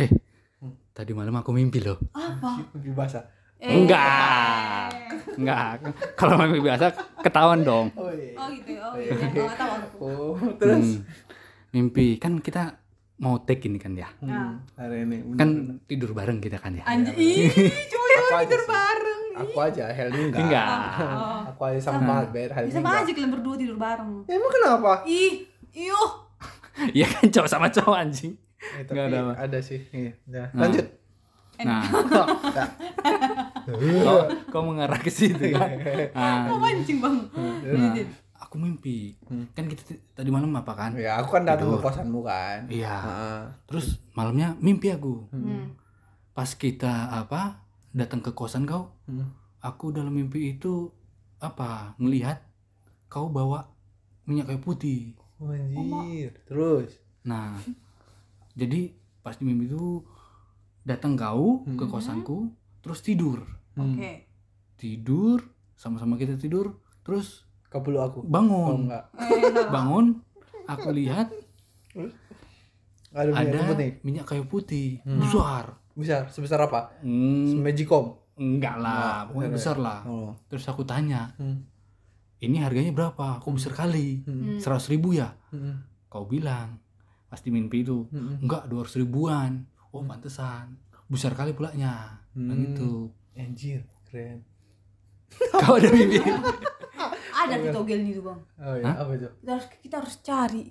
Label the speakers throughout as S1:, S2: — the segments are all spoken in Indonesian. S1: Eh,
S2: Hmm.
S1: malam aku mimpi loh.
S3: Apa?
S2: mimpi basah
S3: Eh.
S1: Enggak. Enggak. Kalau mimpi biasa ketahuan dong.
S2: oh iya
S3: Oh gitu. Oh iya. Oh, nggak tahu aku.
S2: oh terus
S1: Hmm. Mimpi kan kita mau take ini kan ya.
S3: Nah.
S2: Hmm, hari ini bener, bener.
S1: Kan tidur bareng kita kan ya.
S3: Anjir. Ih, cuy,
S2: Aku aja
S3: tidur
S2: sih.
S3: bareng.
S2: aku aja Helmi enggak
S1: Enggak.
S3: Oh.
S2: aku aja sama
S3: Sama.
S2: banget Ber Helmi
S3: Bisa
S2: enggak.
S3: aja kalian berdua tidur bareng.
S2: Ya, emang kenapa
S3: Ih, iuh.
S1: Iya kan cowok sama cowok anjing.
S2: Eh, tapi
S1: Enggak ada,
S2: ada,
S1: Pak.
S2: sih iya. Nah,
S1: Nah.
S2: lanjut
S1: Nah,
S2: Nah.
S1: kau, kau mengarah ke situ kan. Nah,
S3: Kau mancing bang. Iya,
S1: nah, aku mimpi.
S2: Hmm.
S1: Kan kita t- tadi malam apa kan?
S2: ya aku kan datang ke
S1: Tidur.
S2: kosanmu kan
S1: Iya.
S2: Heeh.
S1: Terus malamnya mimpi aku.
S3: Hmm.
S1: Pas kita apa? Datang ke kosan kau,
S2: Hmm.
S1: aku dalam mimpi itu apa? Ngelihat kau bawa minyak kayu putih.
S2: Oh, Anjir, terus
S1: Nah, jadi pas di mimpi itu datang kau ke
S2: Hmm.
S1: kosanku, terus tidur.
S2: Hmm.
S3: Oke.
S1: Tidur, sama-sama kita tidur, terus
S2: Kau peluk aku.
S1: Hmm.
S2: Oh,
S1: bangun.
S2: enggak.
S3: Eh, salah.
S1: bangun, aku lihat
S2: Ada punya
S1: ada
S2: temen nih.
S1: minyak kayu putih
S2: Hmm.
S1: besar.
S2: Besar, sebesar apa?
S1: Hmm, Ah,
S2: Magicom.
S1: enggak lah,
S2: Enggak,
S1: pokoknya
S2: bener.
S1: besar lah.
S2: Oh.
S1: Terus aku tanya,
S2: Hmm.
S1: ini harganya berapa? Aku besar kali.
S2: Hmm.
S3: Hmm.
S1: Seratus ribu ya?
S2: Hmm.
S1: Kau bilang. Pasti mimpi itu.
S2: Hmm.
S1: Enggak, dua ribuan. Oh, pantesan. Besar kali pulanya. Nah,
S2: Hmm.
S1: gitu.
S2: Anjir, keren.
S1: Kau ada mimpi?
S3: Ada di togel nih tuh bang.
S2: Oh iya,
S1: Hah?
S2: apa itu?
S3: Kita harus, kita harus cari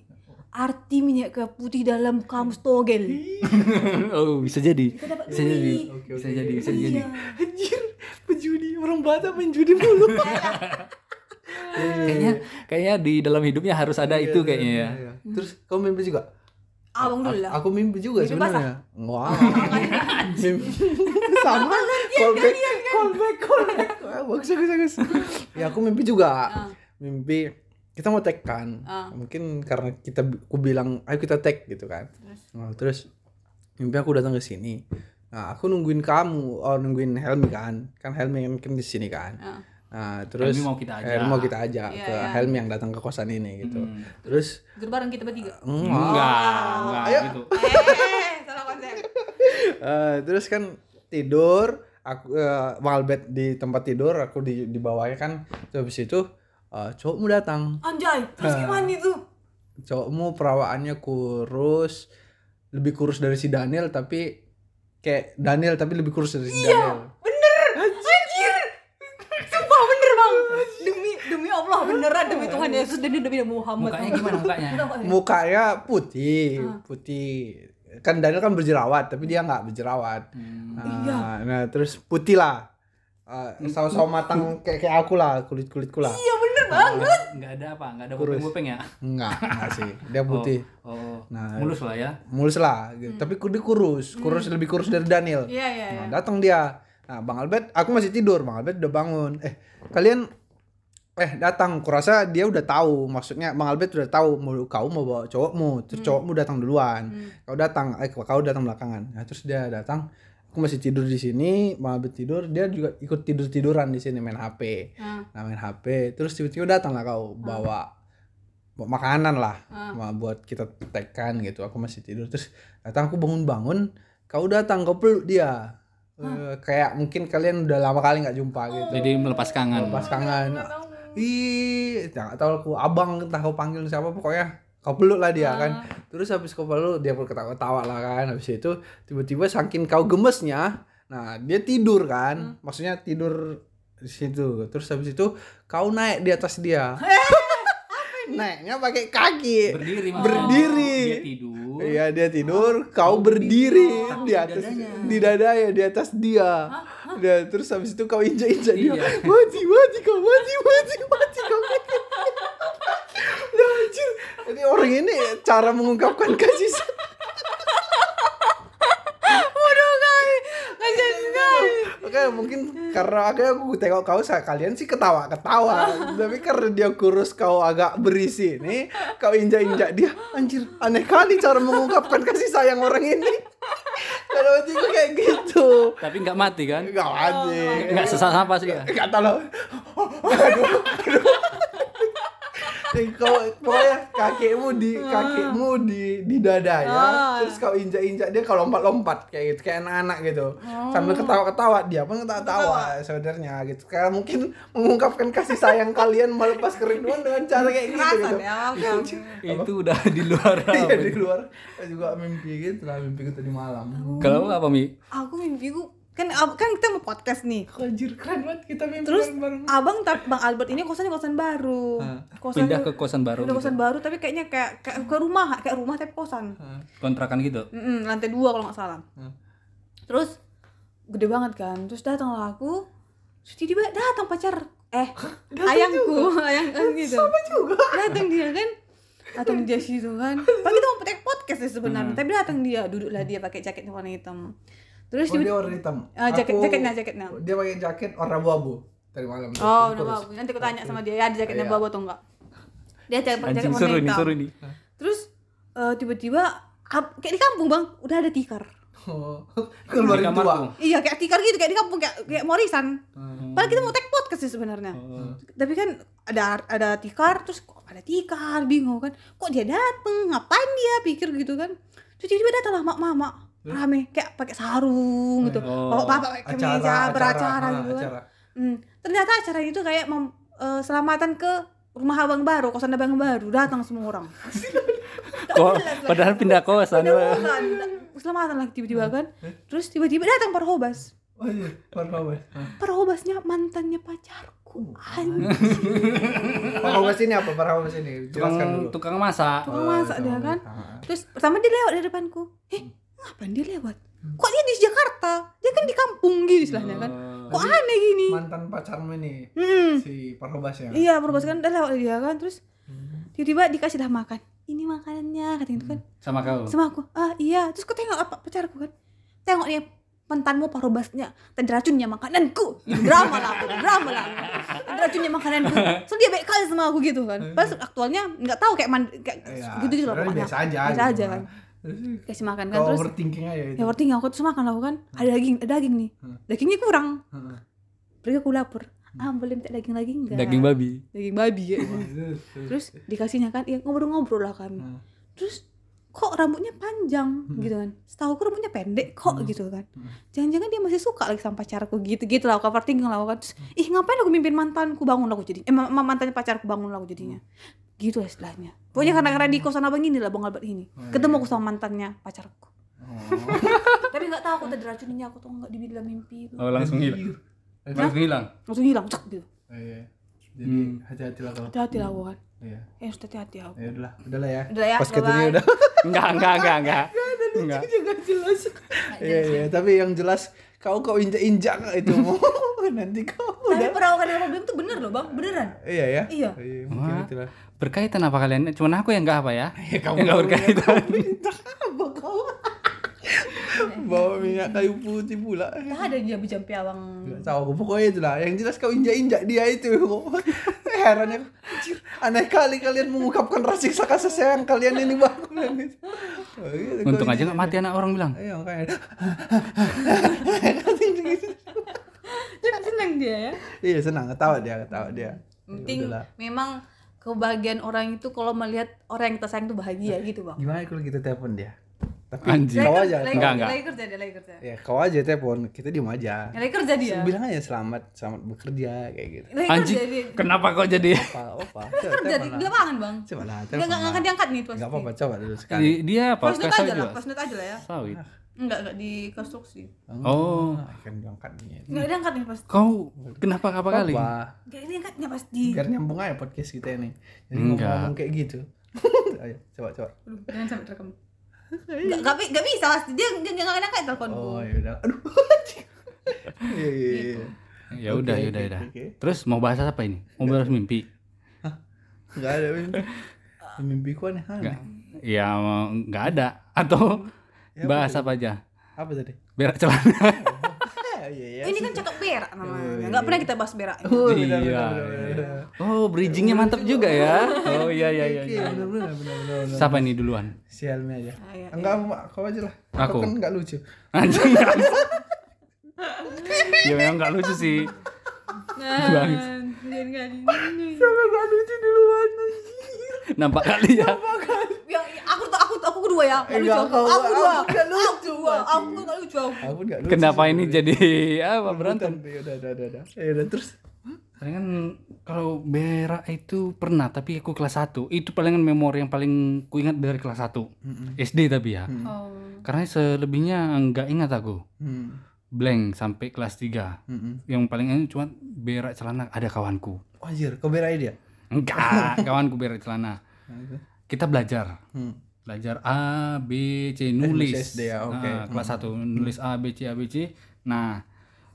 S3: arti minyak kayu putih dalam kamus togel.
S1: oh, bisa jadi.
S3: Kita dapat
S1: Bisa jadi.
S3: duit.
S2: Oke,
S1: Bisa
S2: oke.
S1: jadi, bisa jadi.
S3: Iya.
S2: Anjir, penjudi. Orang Batak penjudi mulu.
S1: Kayaknya kayaknya di dalam hidupnya harus ada
S2: Iya,
S1: itu kayaknya ya.
S2: iya, iya. Terus kau mimpi juga?
S3: Abang dulu
S2: A-
S3: lah.
S2: Aku mimpi juga
S3: Mimpi Oh,
S2: sebenarnya. Wah. Mimpi- Sama. Callback, callback, callback. Wah, Eh, Bagus, bagus, bagus. Ya aku mimpi juga.
S3: Ah.
S2: Mimpi kita mau tag kan.
S3: Ah.
S2: Mungkin karena kita aku bilang ayo kita tag gitu kan.
S3: Terus?
S2: Nah, terus mimpi aku datang ke sini. Nah, aku nungguin kamu, oh nungguin Helmi kan. Kan Helmi yang kan di sini kan.
S3: Ah.
S2: Nah, terus
S1: Helmi mau kita ajak.
S2: Helmi mau kita ajak
S3: Iya,
S2: ke
S3: iya.
S2: Helmi yang datang ke kosan ini gitu.
S1: Hmm.
S2: Terus
S3: Tidur bareng kita bertiga.
S2: enggak.
S1: Enggak, enggak
S2: Ayo.
S1: gitu.
S3: Eh, salah konsep.
S2: Eh, terus kan tidur aku eh, Walbet di tempat tidur aku di di bawahnya kan terus habis itu eh, cowokmu datang
S3: Anjay, terus
S1: Nah.
S3: gimana itu?
S2: cowokmu perawaannya kurus lebih kurus dari si Daniel tapi kayak Daniel tapi lebih kurus dari si
S3: Iya.
S2: Daniel
S3: Bener, anjir. Sumpah bener bang. Demi demi Allah beneran demi Tuhan Yesus dan demi Nabi Muhammad.
S1: Mukanya gimana mukanya?
S2: mukanya putih
S3: Ah.
S2: putih kan Daniel kan berjerawat tapi dia nggak berjerawat
S1: Hmm.
S2: nah,
S3: Iya. Mm,
S2: nah, terus putih lah Eh, saus-saus matang kayak kayak aku lah kulit kulitku lah
S3: Iya bener banget.
S1: Enggak ada apa? Enggak ada
S2: Kurus.
S1: bopeng-bopeng ya?
S2: enggak enggak sih dia putih
S1: Oh.
S2: Nah,
S1: mulus lah ya.
S2: mulus lah gitu. tapi ku- dia kurus kurus lebih kurus dari Daniel
S3: Iya iya. iya.
S2: nah datang dia nah bang Albert aku masih tidur bang Albert udah bangun eh kalian eh datang kurasa dia udah tahu maksudnya bang Albert udah tahu mau kau mau bawa cowokmu terus cowokmu datang duluan kau datang eh kau datang belakangan nah, terus dia datang aku masih tidur di sini bang Albert tidur dia juga ikut tidur tiduran di sini main HP
S3: Ah.
S2: Nah, main HP terus tiba-tiba datang lah kau bawa bawa makanan lah
S3: Ah.
S2: Ma- buat kita tekan gitu aku masih tidur terus datang aku bangun-bangun kau datang kau peluk dia Eh, kayak mungkin kalian udah lama kali nggak jumpa gitu
S1: Jadi melepas kangen.
S2: pas kangen ih nggak tahu aku abang entah kau panggil siapa pokoknya kau peluk lah dia kan terus habis kau peluk dia pun ketawa-ketawa lah kan habis itu tiba-tiba saking kau gemesnya nah dia tidur kan maksudnya tidur di situ terus habis itu kau naik di atas dia naiknya pakai kaki
S1: Berdiri maksudnya.
S2: Berdiri.
S1: Dia tidur. Ah,
S2: Iya dia tidur, kau berdiri
S1: tidur.
S2: di atas
S1: Di dadanya.
S2: di dadanya, di atas dia. Dan terus habis itu kau injak-injak dia.
S1: Iya.
S2: Mati, mati kau, mati, mati, mati kau. Ya anjir. Ini orang ini cara mengungkapkan kasih sayang.
S3: Waduh guys, kasihan sekali.
S2: Oke, mungkin karena akhirnya aku tengok kau sa- kalian sih ketawa-ketawa. Tapi karena dia kurus kau agak berisi nih, kau injak-injak dia. Anjir, aneh kali cara mengungkapkan kasih sayang orang ini. Kalau hati gue kayak gitu.
S1: Tapi enggak mati kan?
S2: Enggak anjing.
S1: Iya.
S2: Iya.
S1: Enggak sesak apa sih ya?
S2: Enggak tahu. Aduh. aduh. kau pokoknya kakekmu di kakekmu di di dada ya
S3: Ah.
S2: terus kau injak injak dia kalau lompat lompat kayak gitu kayak anak anak gitu sambil ketawa ketawa dia pun ketawa tawa saudaranya gitu karena mungkin mengungkapkan kasih sayang kalian melepas kerinduan dengan cara kayak gitu
S3: Kerasan
S2: gitu
S3: ya, oke.
S4: itu udah di luar
S2: iya
S4: apa?
S2: di luar juga mimpi gitu lah mimpiku tadi malam
S4: kalau lu apa mi
S3: Aku mimpiku kan ab- kan kita mau podcast nih.
S2: Anjir keren banget kita mimpi
S3: Terus
S2: bareng
S3: abang tar- bang Albert ini kosannya kosan baru.
S4: Hah.
S3: Kosan
S4: pindah ke kosan baru
S3: pindah
S4: gitu.
S3: kosan baru tapi kayaknya kayak kayak ke rumah kayak rumah tapi kosan.
S2: Ah,
S4: kontrakan gitu
S3: Mm-mm, lantai dua kalau nggak salah.
S2: Hmm.
S3: Terus gede banget kan. Terus datanglah aku. Terus tiba-tiba datang pacar. Eh, ayangku, ayang ayang gitu. Sama juga. Datang dia kan. Datang dia situ kan. Padahal kita mau take podcast sih sebenarnya. Tapi datang dia, duduklah dia pakai jaket warna hitam. Terus
S2: Oh, dia
S3: tiba
S2: warna hitam.
S3: Ah, jaket-
S2: Aku-
S3: jaketnya, jaketnya.
S2: Dia pakai jaket warna abu-abu tadi malam. Terus.
S3: Oh, udah bagus. Nanti aku tanya sama dia, ya ada jaketnya
S2: Iya.
S3: bawa atau enggak. Dia jaket pakai jaket
S4: anjing
S3: warna
S4: seru nih
S3: hitam.
S4: seru nih
S3: Terus eh, tiba-tiba kap- kayak di kampung, Bang, udah ada tikar.
S2: Oh,
S4: Di
S2: keluarin tua.
S4: kamarku.
S3: Iya, kayak tikar gitu, kayak di kampung kayak kayak Morisan.
S2: Hmm.
S3: Padahal kita mau take podcast sih sebenarnya.
S4: Oh.
S3: Tapi kan ada ada tikar, terus kok ada tikar, bingung kan. Kok dia dateng, ngapain dia pikir gitu kan. Terus tiba-tiba datanglah mak-mama rame kayak pakai sarung gitu.
S4: Oh.
S3: Bapak bapak pakai kemeja beracara
S2: ah,
S3: gitu kan.
S2: acara.
S3: Hmm. Ternyata acara itu kayak mem- eh, selamatan ke rumah abang baru, kosan abang baru, datang semua orang.
S4: Kok, padahal pindah kosan
S3: Ada orang, selamatan lah tiba-tiba kan. Terus tiba-tiba datang Parhobas.
S2: Oh iya, warna apa?
S3: Parhobasnya mantannya pacarku.
S2: Oh.
S3: Anjir.
S2: Parahobas ini apa? Parahobas ini. Jelaskan
S4: tukang
S2: dulu.
S4: tukang masak
S3: Tukang
S2: Oh,
S3: masak
S2: tukang
S3: dia kan.
S2: masak.
S3: Terus pertama dia lewat dari depanku. Eh, ngapain dia lewat? Kok dia di Jakarta? Dia kan di kampung gitu istilahnya kan.
S1: Hmm.
S4: Oh,
S3: Kok aneh gini?
S2: Mantan pacarmu ini
S3: Mm-mm.
S2: si Parahobas ya.
S3: Hmm. Iya, berubah kan dia lewat dari dia kan. Terus tiba-tiba dikasih dah makan. Ini makanannya katanya gitu kan.
S4: sama kau
S3: Sama aku. Ah, iya. Terus aku tengok apa pacarku kan. Tengok dia mantanmu parobasnya tadi racunnya makananku drama lah aku, drama lah aku. Tadi racunnya makananku so dia baik kali sama aku gitu kan pas aktualnya nggak tahu kayak, man, kayak
S2: Iya,
S3: gitu gitu loh
S2: sebenarnya
S3: pokoknya
S2: biasa aja.
S3: biasa
S2: gitu
S3: aja
S2: kan.
S3: kan
S2: Terus
S3: kasih makan kan
S2: Kau
S3: terus
S2: overthinking aja itu.
S3: ya penting aku terus makan lah aku kan ada daging ada daging nih
S2: Hmm.
S3: dagingnya kurang
S2: Heeh.
S3: pergi aku lapar ah boleh minta daging lagi enggak
S4: daging babi
S3: daging babi ya
S2: Terus, terus.
S3: terus dikasihnya kan ya ngobrol-ngobrol lah kami
S2: Hmm.
S3: terus kok rambutnya panjang gitu kan setahu aku rambutnya pendek kok
S2: Hmm.
S3: gitu kan jangan-jangan dia masih suka lagi sama pacarku gitu gitu lah aku overthinking lah aku kan terus, ih ngapain aku mimpin mantanku bangun lah aku jadinya eh ma- ma- mantannya pacarku bangun lah aku jadinya
S2: Hmm.
S3: gitu lah istilahnya pokoknya karena karena di kosan abang ini lah bang Albert ini
S2: Oh,
S3: ketemu
S2: iya.
S3: aku sama mantannya pacarku
S2: Oh.
S3: tapi nggak tahu aku tadi racuninnya aku tuh nggak di dalam mimpi itu
S4: oh, langsung
S2: Iya.
S4: hilang
S2: Anjir.
S4: langsung hilang
S3: langsung hilang cek gitu
S2: Oh, iya. Jadi
S4: Hmm.
S2: hati-hati lah kalau.
S3: hati-hati lah aku kan
S2: Iya.
S3: ya harus hati-hati aku
S2: Ya udahlah, udahlah ya.
S3: Udah ya,
S2: Pas ketanya
S3: bye-bye.
S2: udah.
S4: enggak enggak enggak enggak enggak
S2: juga jelas. Iya iya, tapi yang jelas kau kau injak-injak itu nanti kau
S3: tapi
S2: udah.
S3: perawakan dalam problem tuh bener loh bang beneran
S2: Iya ya.
S3: Iya.
S2: Iya, mungkin
S4: Wah.
S2: itulah.
S4: berkaitan apa kalian cuman aku yang enggak apa ya
S2: Ya kamu
S4: yang enggak berkaitan
S2: apa kau? Bawa minyak kayu putih pula.
S3: Gak ada dia jampi awang
S2: Gak tahu aku pokoknya itulah. Yang jelas kau injak-injak dia itu. Herannya anjir, aneh kali kalian mengungkapkan rasa kasih sayang kalian ini bang. Oh, gitu, kau
S4: untung aja
S2: injak-injak.
S4: enggak mati anak orang bilang
S2: Iya makanya.
S3: Jadi seneng dia ya
S2: Iya senang ketawa dia ketawa dia. Ya
S3: Penting
S2: udahlah.
S3: memang kebahagiaan orang itu kalau melihat orang yang kita sayang tuh bahagia gitu bang
S2: Gimana kalau kita telepon dia? Tapi
S4: Anjing.
S2: kau
S4: Lain-
S2: aja.
S3: lagi,
S2: kau-
S4: Enggak, enggak.
S3: lagi kerja dia lagi kerja
S2: Ya kau aja telepon, kita diem aja.
S3: lagi kerja dia
S2: Bilang aja selamat, selamat bekerja kayak gitu.
S3: lagi
S4: anjing
S3: kerja dia
S4: kenapa kok jadi
S2: Apa apa?
S3: kerja di di lapangan bang
S2: Coba lah.
S3: nggak nggak nggak akan diangkat nih pasti
S2: Enggak apa-apa coba dulu sekali.
S4: Di- dia apa
S3: Voice note aja
S4: Kasau
S3: lah,
S4: juga?
S3: voice note aja lah ya
S4: sawit
S3: Enggak, enggak di konstruksi
S2: Hmm.
S4: Oh.
S2: Ah, akan diangkat nih.
S3: Enggak diangkat nih pasti
S4: kau kenapa apa kali
S2: Apa?
S3: Enggak diangkat nih pasti
S2: Biar nyambung aja podcast kita ini. Jadi
S4: Enggak.
S2: ngomong kayak gitu. Ayo, coba coba.
S3: Aduh, jangan sampai terekam Enggak, enggak, bi- enggak bisa pasti Dia dia enggak akan angkat teleponku
S2: Oh, ya udah. Aduh. anjing. Iya iya iya.
S3: Gitu.
S4: ya udah
S2: Oke,
S4: ya udah
S2: oke,
S4: ya udah
S2: oke.
S4: terus mau bahas apa ini mau bahas mimpi
S2: Enggak ada mimpi. Mimpiku aneh aneh.
S4: enggak ya enggak ada atau
S2: Ya, apa
S4: bahas
S2: tadi?
S4: apa aja
S2: Apa tadi?
S4: berak celana
S2: Ah, Iya iya.
S3: Ini kan cakep berak namanya
S2: Iya,
S3: Enggak
S2: iya.
S3: pernah kita bahas berak
S2: Oh,
S4: Iya,
S2: benar, benar,
S4: iya.
S2: benar, benar.
S4: oh bridgingnya mantap juga ya oh iya iya iya,
S2: Oke,
S4: iya
S2: benar, benar, benar, benar, benar.
S4: siapa ini duluan
S2: Si Helmi aja.
S3: Ah, iya,
S2: Enggak, Mak, kau aja lah.
S4: Aku?
S2: Kau kan enggak lucu.
S4: anjing ya memang nggak lucu sih
S3: Nah, jangan kali ini.
S2: Enggak lucu duluan.
S1: nampak kali ya
S3: yang iya, aku tuh aku aku kedua ya nggak lucu
S2: Enggak,
S3: aku,
S2: kau-
S3: aku kedua
S2: aku nggak lucu,
S3: aku kedua
S2: Ati.
S3: aku nggak lucu aku
S2: Aku nggak lucu
S1: kenapa
S2: sih
S1: ini
S2: sebenarnya.
S1: jadi apa berantem
S2: Ya udah, udah, udah, udah. Ya udah, terus
S1: palingan kalau berak itu pernah tapi aku kelas 1 itu palingan memori yang paling ku ingat dari kelas 1 SD tapi ya
S2: Hmm.
S3: oh.
S1: karena selebihnya nggak ingat aku
S2: Hmm.
S1: blank sampai kelas 3
S2: Hmm.
S1: yang paling ingat cuma berak celana ada kawanku
S2: Oh, Anjir, kau berain dia? Nah,
S1: enggak kawanku berak celana kita belajar
S2: Hmm.
S1: belajar A B C
S2: nulis
S1: nulis
S2: SD ya, oke.
S1: Nah, kelas
S2: Hmm.
S1: 1 nulis A B C A B C nah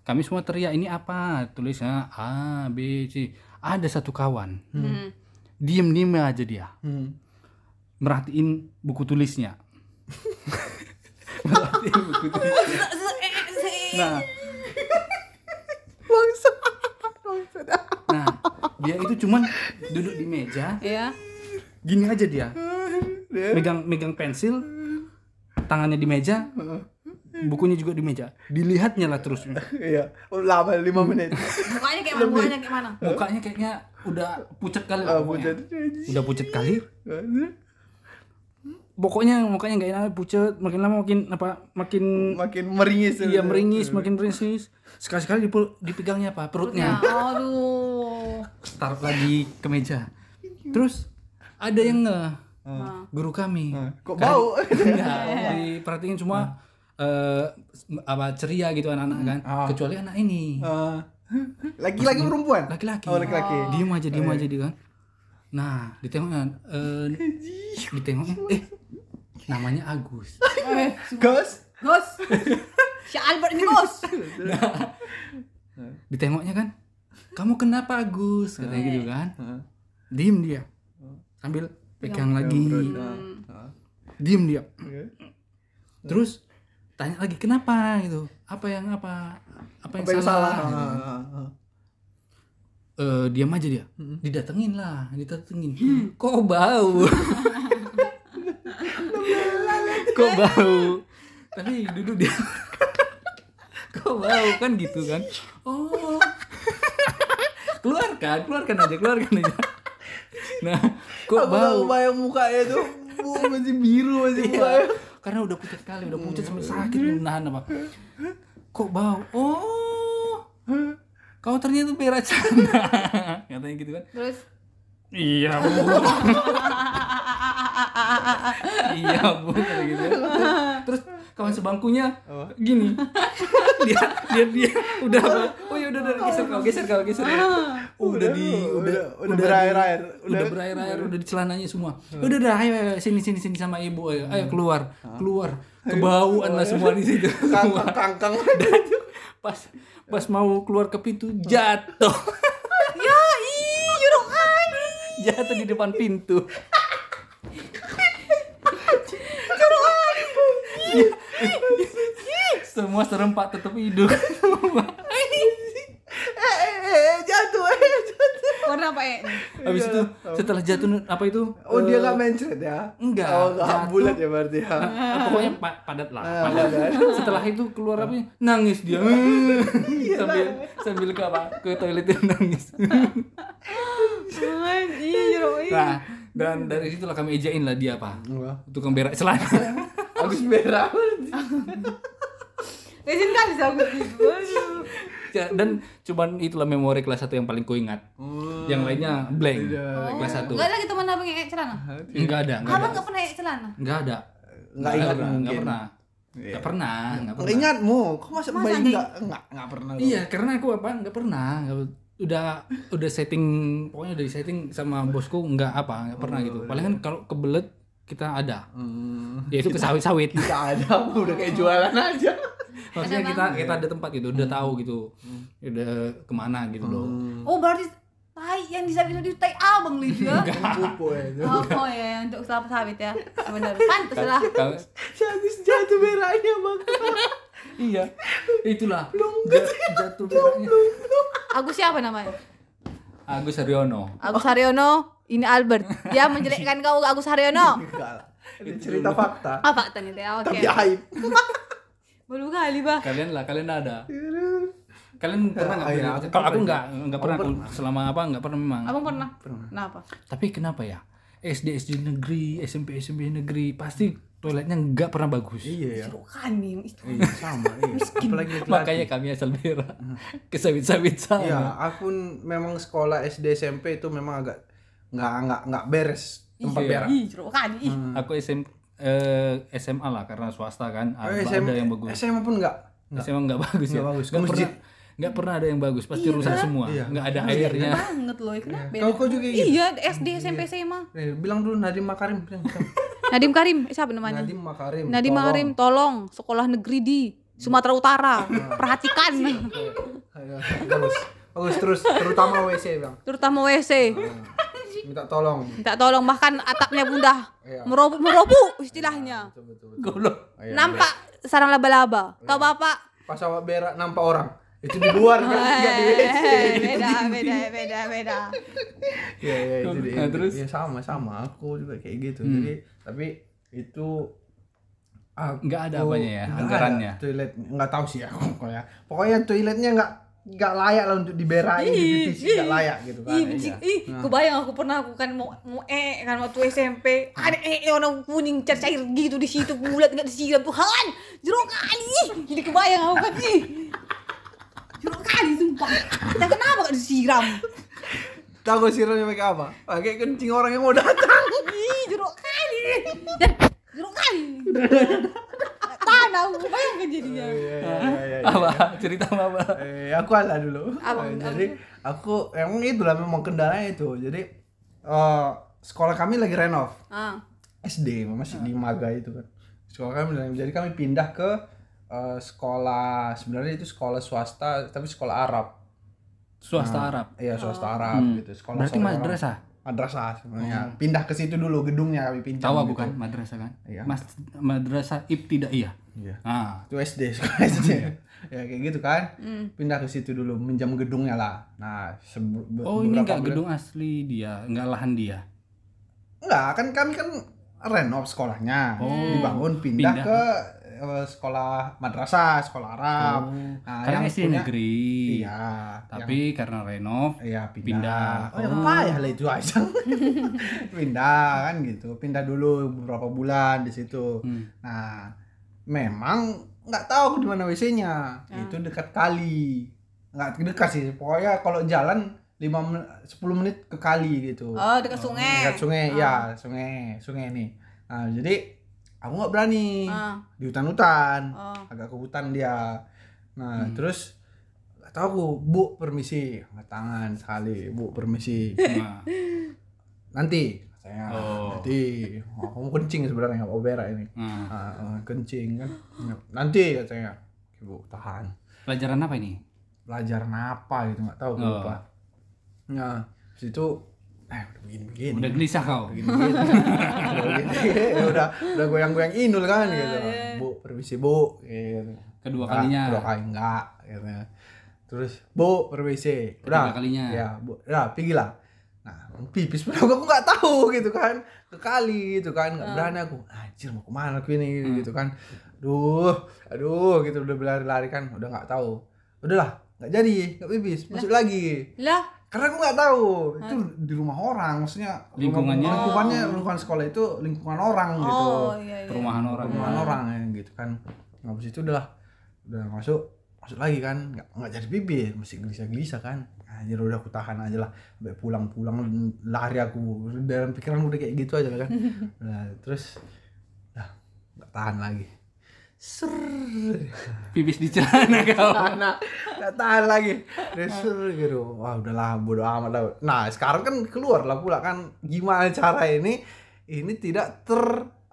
S1: kami semua teriak ini apa tulisnya A B C ada satu kawan
S3: Hmm.
S1: diem diem aja dia
S2: Hmm.
S1: merhatiin buku tulisnya merhatiin buku tulis nah
S2: Bangsa. Bangsa.
S1: nah dia itu cuman duduk di meja
S3: ya
S1: gini aja dia megang megang pensil tangannya di meja bukunya juga di meja dilihatnya lah terus
S2: Iya, lama lima menit.
S3: mukanya kayak mana mukanya kayak mana
S1: mukanya kayaknya udah pucat kali lah
S2: Ah,
S1: pokoknya.
S2: buset. Anjir.
S1: udah pucat kali
S2: gitu,
S1: pokoknya mukanya nggak enak pucat makin lama makin apa makin
S2: Makin meringis.
S1: iya meringis makin meringis sekali sekali dipegangnya apa
S2: Ya.
S1: perutnya
S3: Ya, aduh
S1: taruh lagi ke meja terus ada yang nge
S3: Nah.
S1: guru kami
S2: Hmm. Kok bau?
S1: Iya, diperhatiin cuma eh apa ceria gitu anak-anak kan
S2: Hmm. Ah.
S1: kecuali anak ini
S2: Ah. Laki-laki perempuan?
S1: laki-laki
S2: Oh, laki-laki. Eh.
S1: diem aja diem aja dia kan nah ditengok kan eh, ditengok eh namanya Agus
S2: Gus?
S3: Gus si Albert ini Gus
S1: ditengoknya kan kamu kenapa Agus katanya gitu
S2: Hmm.
S1: kan diem dia sambil pegang lagi
S2: Ah.
S1: diem dia
S2: Iya.
S1: terus tanya lagi kenapa gitu apa yang apa apa yang,
S2: Apa yang
S1: salah,
S2: salah?
S1: Gitu.
S2: Ah, ah, ah.
S1: Eh, diam aja dia didatengin lah didatengin
S2: Hmm.
S1: kok bau kok bau tapi duduk dia kok bau kan gitu kan oh keluarkan keluarkan aja keluarkan aja nah kok
S2: Aku
S1: bau
S2: tahu bayang mukanya tuh bu, masih biru masih mukanya.
S1: karena udah pucat kali udah pucat sampai sakit belum nahan apa kok bau oh kau ternyata berak sana katanya gitu kan
S3: terus
S1: iya bu iya bu kata gitu kan. terus kawan sebangkunya gini dia dia dia udah apa? oh ya udah udah geser kau geser kau geser ya. Oh, udah di udah
S2: udah, udah berair-air.
S1: udah, Hmm. berair-air udah di celananya semua udah udah ayo, ayo sini sini sini sama ibu ayo ayo keluar keluar kebauan lah semua di situ
S2: kangkang kangkang.
S1: pas pas mau keluar ke pintu jatuh
S3: ya ih
S2: iya
S3: you don't honey
S1: jatuh di depan pintu Iya. semua serempak tutup hidung
S2: eh eh eh jatuh eh jatuh.
S3: warna apa eh
S1: habis itu setelah jatuh apa itu
S2: Iya. Oh dia nggak mencret ya?
S1: enggak,
S2: Oh nggak
S1: jatuh.
S2: bulat ya berarti ya.
S1: Nah, pokoknya pa- padat lah
S2: Ah,
S1: padat.
S2: padat.
S1: setelah itu keluar apa ya? nangis dia
S2: Iya
S1: sambil sambil ke apa ke toilet dia nangis
S3: ih you don't
S1: nah dan dari situlah kami ejain lah dia apa
S2: Enggak.
S1: tukang berak celana
S2: Agus merah.
S3: Resin kan bisa aku gitu Aduh.
S1: Ya, dan cuman itulah memori kelas 1 yang paling kuingat yang lainnya
S2: Iya,
S1: blank kelas 1
S3: Enggak Oh. lagi teman abang yang celana
S1: enggak ada enggak ada
S3: abang nggak pernah yang celana
S1: enggak ada
S2: Nggak ingat
S1: pernah, enggak
S2: mungkin. Iya.
S1: pernah enggak pernah enggak pernah
S2: Ingatmu, kok masa
S3: Masa
S2: bayi
S3: nggak-
S2: nggak nggak nggak pernah? lu?
S1: Iya, karena aku apa nggak pernah, nggak- udah udah setting pokoknya udah setting sama bosku nggak apa nggak
S2: Oh,
S1: pernah
S2: iya.
S1: gitu. Palingan kalau kebelet kita ada, Ya,
S2: Hmm.
S1: yaitu ke sawit-sawit.
S2: Nggak ada, udah kayak jualan aja.
S1: Maksudnya kita kita ada tempat gitu, udah
S2: Hmm.
S1: tahu gitu, udah kemana gitu loh.
S3: oh berarti tai yang disabit itu tai abang lihat ya
S2: Pupu itu.
S3: oh ya untuk selap sabit ya benar pantas lah
S1: Kalau-
S2: Agus jatuh merahnya bang.
S1: iya, itulah Ja- jatuh beratnya.
S3: Agus siapa namanya
S1: Agus Haryono.
S3: Agus Haryono ini Albert dia menjelekkan kau Agus Haryono
S2: Enggak lah. Ini cerita fakta. Iya,
S3: apa tanya teh oke
S2: Tapi aib.
S3: baru kali bah
S1: Kalian lah, kalian ada. Kalian pernah nggak?
S2: iya,
S1: berak?
S2: aku
S1: Kalau aku
S2: pernah.
S1: nggak nggak pernah, aku selama apa nggak pernah memang.
S3: Nah, abang pernah kenapa
S1: Tapi kenapa ya?
S4: SD SD negeri SMP SMP negeri pasti toiletnya nggak pernah bagus
S2: Iya ya.
S3: Cirukan nih yang itu.
S2: Iya sama iya. Apalagi
S4: Hmm. makanya kami asal berak ke sawit-sawit sana
S2: Hmm. Iya, aku memang sekolah SD SMP itu memang agak nggak nggak nggak beres tempat
S4: Iya.
S2: berak.
S3: Ih, cirukan ih.
S4: aku SM, eh, SMA lah karena swasta kan ada,
S2: Eh, SM
S4: ada yang bagus
S2: SMA pun nggak. Nggak.
S4: SMA nggak bagus ya
S2: Nggak bagus.
S4: nggak
S2: Ke
S4: pernah
S2: masjid.
S4: nggak pernah ada yang bagus pasti
S3: Iya,
S4: rusak
S3: kan?
S4: semua
S2: Iya.
S4: nggak ada
S2: Iya,
S4: airnya
S3: banget loh, kenapa?
S2: Kau kau juga gitu.
S3: Iya, SD, SMP, SMA.
S2: Nih, bilang dulu Nadim Makarim. bilang.
S3: Nadim Karim, eh, siapa namanya?
S2: Nadim Makarim.
S3: Nadim
S2: tolong.
S3: Makarim, tolong sekolah negeri di Sumatera Utara. Perhatikan.
S2: Iya. Ayo, Bagus. Bagus terus terutama WC, Bang.
S3: Terutama WC.
S2: Minta tolong.
S3: Minta tolong bahkan atapnya bunda
S2: Iya.
S3: meroboh meroboh istilahnya.
S2: Betul, betul, betul.
S4: goblok
S2: Ayo.
S3: Nampak sarang
S2: Nah.
S3: laba-laba. Tahu Bapak?
S2: Pas awak berak nampak orang. Itu di luar kan, nggak di WC.
S3: Eh, beda, beda, beda, beda.
S2: Iya, iya, itu dia.
S4: Nah, terus?
S2: Iya, sama sama aku juga kayak gitu.
S4: Hmm.
S2: Jadi, tapi itu aku-
S4: Nggak ada apanya ya,
S2: nggak
S4: anggarannya.
S2: ada Toilet nggak tahu sih aku pokoknya. Pokoknya toiletnya nggak nggak layak lah untuk diberain
S3: Ih,
S2: gitu sih, nggak
S3: ih.
S2: layak gitu kan.
S3: Ih, benci. Ih, kebayang aku pernah aku kan mau mau eh kan waktu SMP. Ada eh eh, warna kuning cair cair gitu di situ bulat enggak disiram Tuhan. Jerokan ih. Jadi kebayang aku kan ih. Jerokan sumpah. Kita kenapa enggak disiram?
S2: Tahu gak siramnya pakai apa? Pakai kencing orang yang mau datang.
S3: Ih, jeruk kali. Dan jeruk kali. Tanah aku bayang kan jadinya.
S2: Iya, iya, iya, iya, iya.
S4: apa cerita sama apa
S2: Eh, aku ala dulu.
S3: Apa-
S2: Eh, jadi aku emang itulah memang kendalanya itu. Jadi eh, sekolah kami lagi renov.
S3: Ah,
S2: SD masih di Maga itu kan sekolah kami bilang, jadi kami pindah ke eh, sekolah sebenarnya itu sekolah swasta tapi sekolah Arab
S4: swasta
S2: Nah,
S4: Arab
S2: iya swasta Arab
S4: Hmm.
S2: gitu sekolah
S4: berarti
S2: seorang-
S4: madrasah
S2: madrasah sebenarnya pindah ke situ dulu gedungnya kami pindah
S4: tahu
S2: gitu.
S4: bukan madrasah kan
S2: Iya.
S4: mas madrasah ibtidaiyah
S2: iya
S4: ah
S2: itu SD sekolah SD
S4: Iya.
S2: ya kayak gitu kan
S3: hmm.
S2: pindah ke situ dulu minjam gedungnya lah nah sebe- be-
S4: oh ini
S2: beberapa
S4: nggak
S2: bulan-
S4: gedung asli dia nggak lahan dia
S2: Enggak, kan kami kan renov sekolahnya.
S4: Oh.
S2: Dibangun pindah,
S4: Pindah.
S2: ke eh, sekolah madrasah, sekolah Arab.
S4: Oh.
S2: Nah,
S4: karena SD
S2: punya-
S4: negeri
S2: Iya.
S4: tapi karena renov
S2: yang- iya pindah.
S4: pindah.
S2: Oh, yang payah lah itu Aisang. pindah kan gitu. Pindah dulu beberapa bulan di situ.
S4: Hmm.
S2: Nah, memang nggak tahu aku di mana WC-nya.
S3: Ah.
S2: Itu dekat kali. Nggak dekat sih. Pokoknya kalau jalan 5 men- 10 menit ke kali gitu
S3: oh dekat sungai.
S2: dekat sungai
S3: Ah.
S2: ya sungai sungai nih nah, jadi aku nggak berani
S3: Ah,
S2: di hutan-hutan
S3: oh.
S2: agak ke hutan dia nah
S4: Hmm.
S2: terus nggak tahu aku bu permisi angkat tangan sekali bu permisi
S4: Nah,
S2: nanti saya
S4: Oh.
S2: nanti Oh, aku mau kencing sebenarnya nggak mau berak ini
S4: nah.
S2: Ah, ah, kencing kan nanti katanya Oke, bu tahan
S4: pelajaran apa ini
S2: pelajaran apa gitu nggak tahu aku
S4: Oh.
S2: lupa nah situ eh udah begini begini
S4: udah gelisah kau
S2: Gini-gini. Ya udah udah goyang-goyang inul kan
S4: Ah,
S2: gitu.
S4: iya.
S2: Bu, permisi Bu. Gitu.
S4: kedua
S2: Enggak,
S4: kalinya
S2: Kedua kali enggak gitu. Terus, Bu, permisi.
S4: kedua kalinya
S2: Ya, Bu. Ya, pergilah. Nah, pipis pun aku aku nggak tahu gitu kan. Kekali gitu kan, nggak berani aku. Anjir mau kemana aku ini
S4: Hmm.
S2: gitu kan. Aduh, aduh gitu udah berlari-lari kan, udah nggak tahu. Udahlah, nggak jadi, nggak pipis, masuk lagi
S3: Lah,
S2: karena aku nggak tahu itu di rumah orang maksudnya rumah-
S4: Lingkungannya?
S2: lingkungannya lingkungan sekolah itu lingkungan orang gitu
S3: oh iya iya.
S4: perumahan orang
S2: lingkungan orang ya gitu kan habis itu udah udah masuk masuk lagi kan nggak nggak jadi bibir masih gelisah gelisah kan anjir udah aku tahan aja lah sampai pulang pulang lari aku dalam pikiran udah kayak gitu aja kan nah, terus dah nggak tahan lagi ser
S4: pipis di celana kau
S2: Karena nggak tahan lagi Desur gitu Wah udahlah bodo amat lah Nah sekarang kan keluar lah pula kan Gimana cara ini Ini tidak ter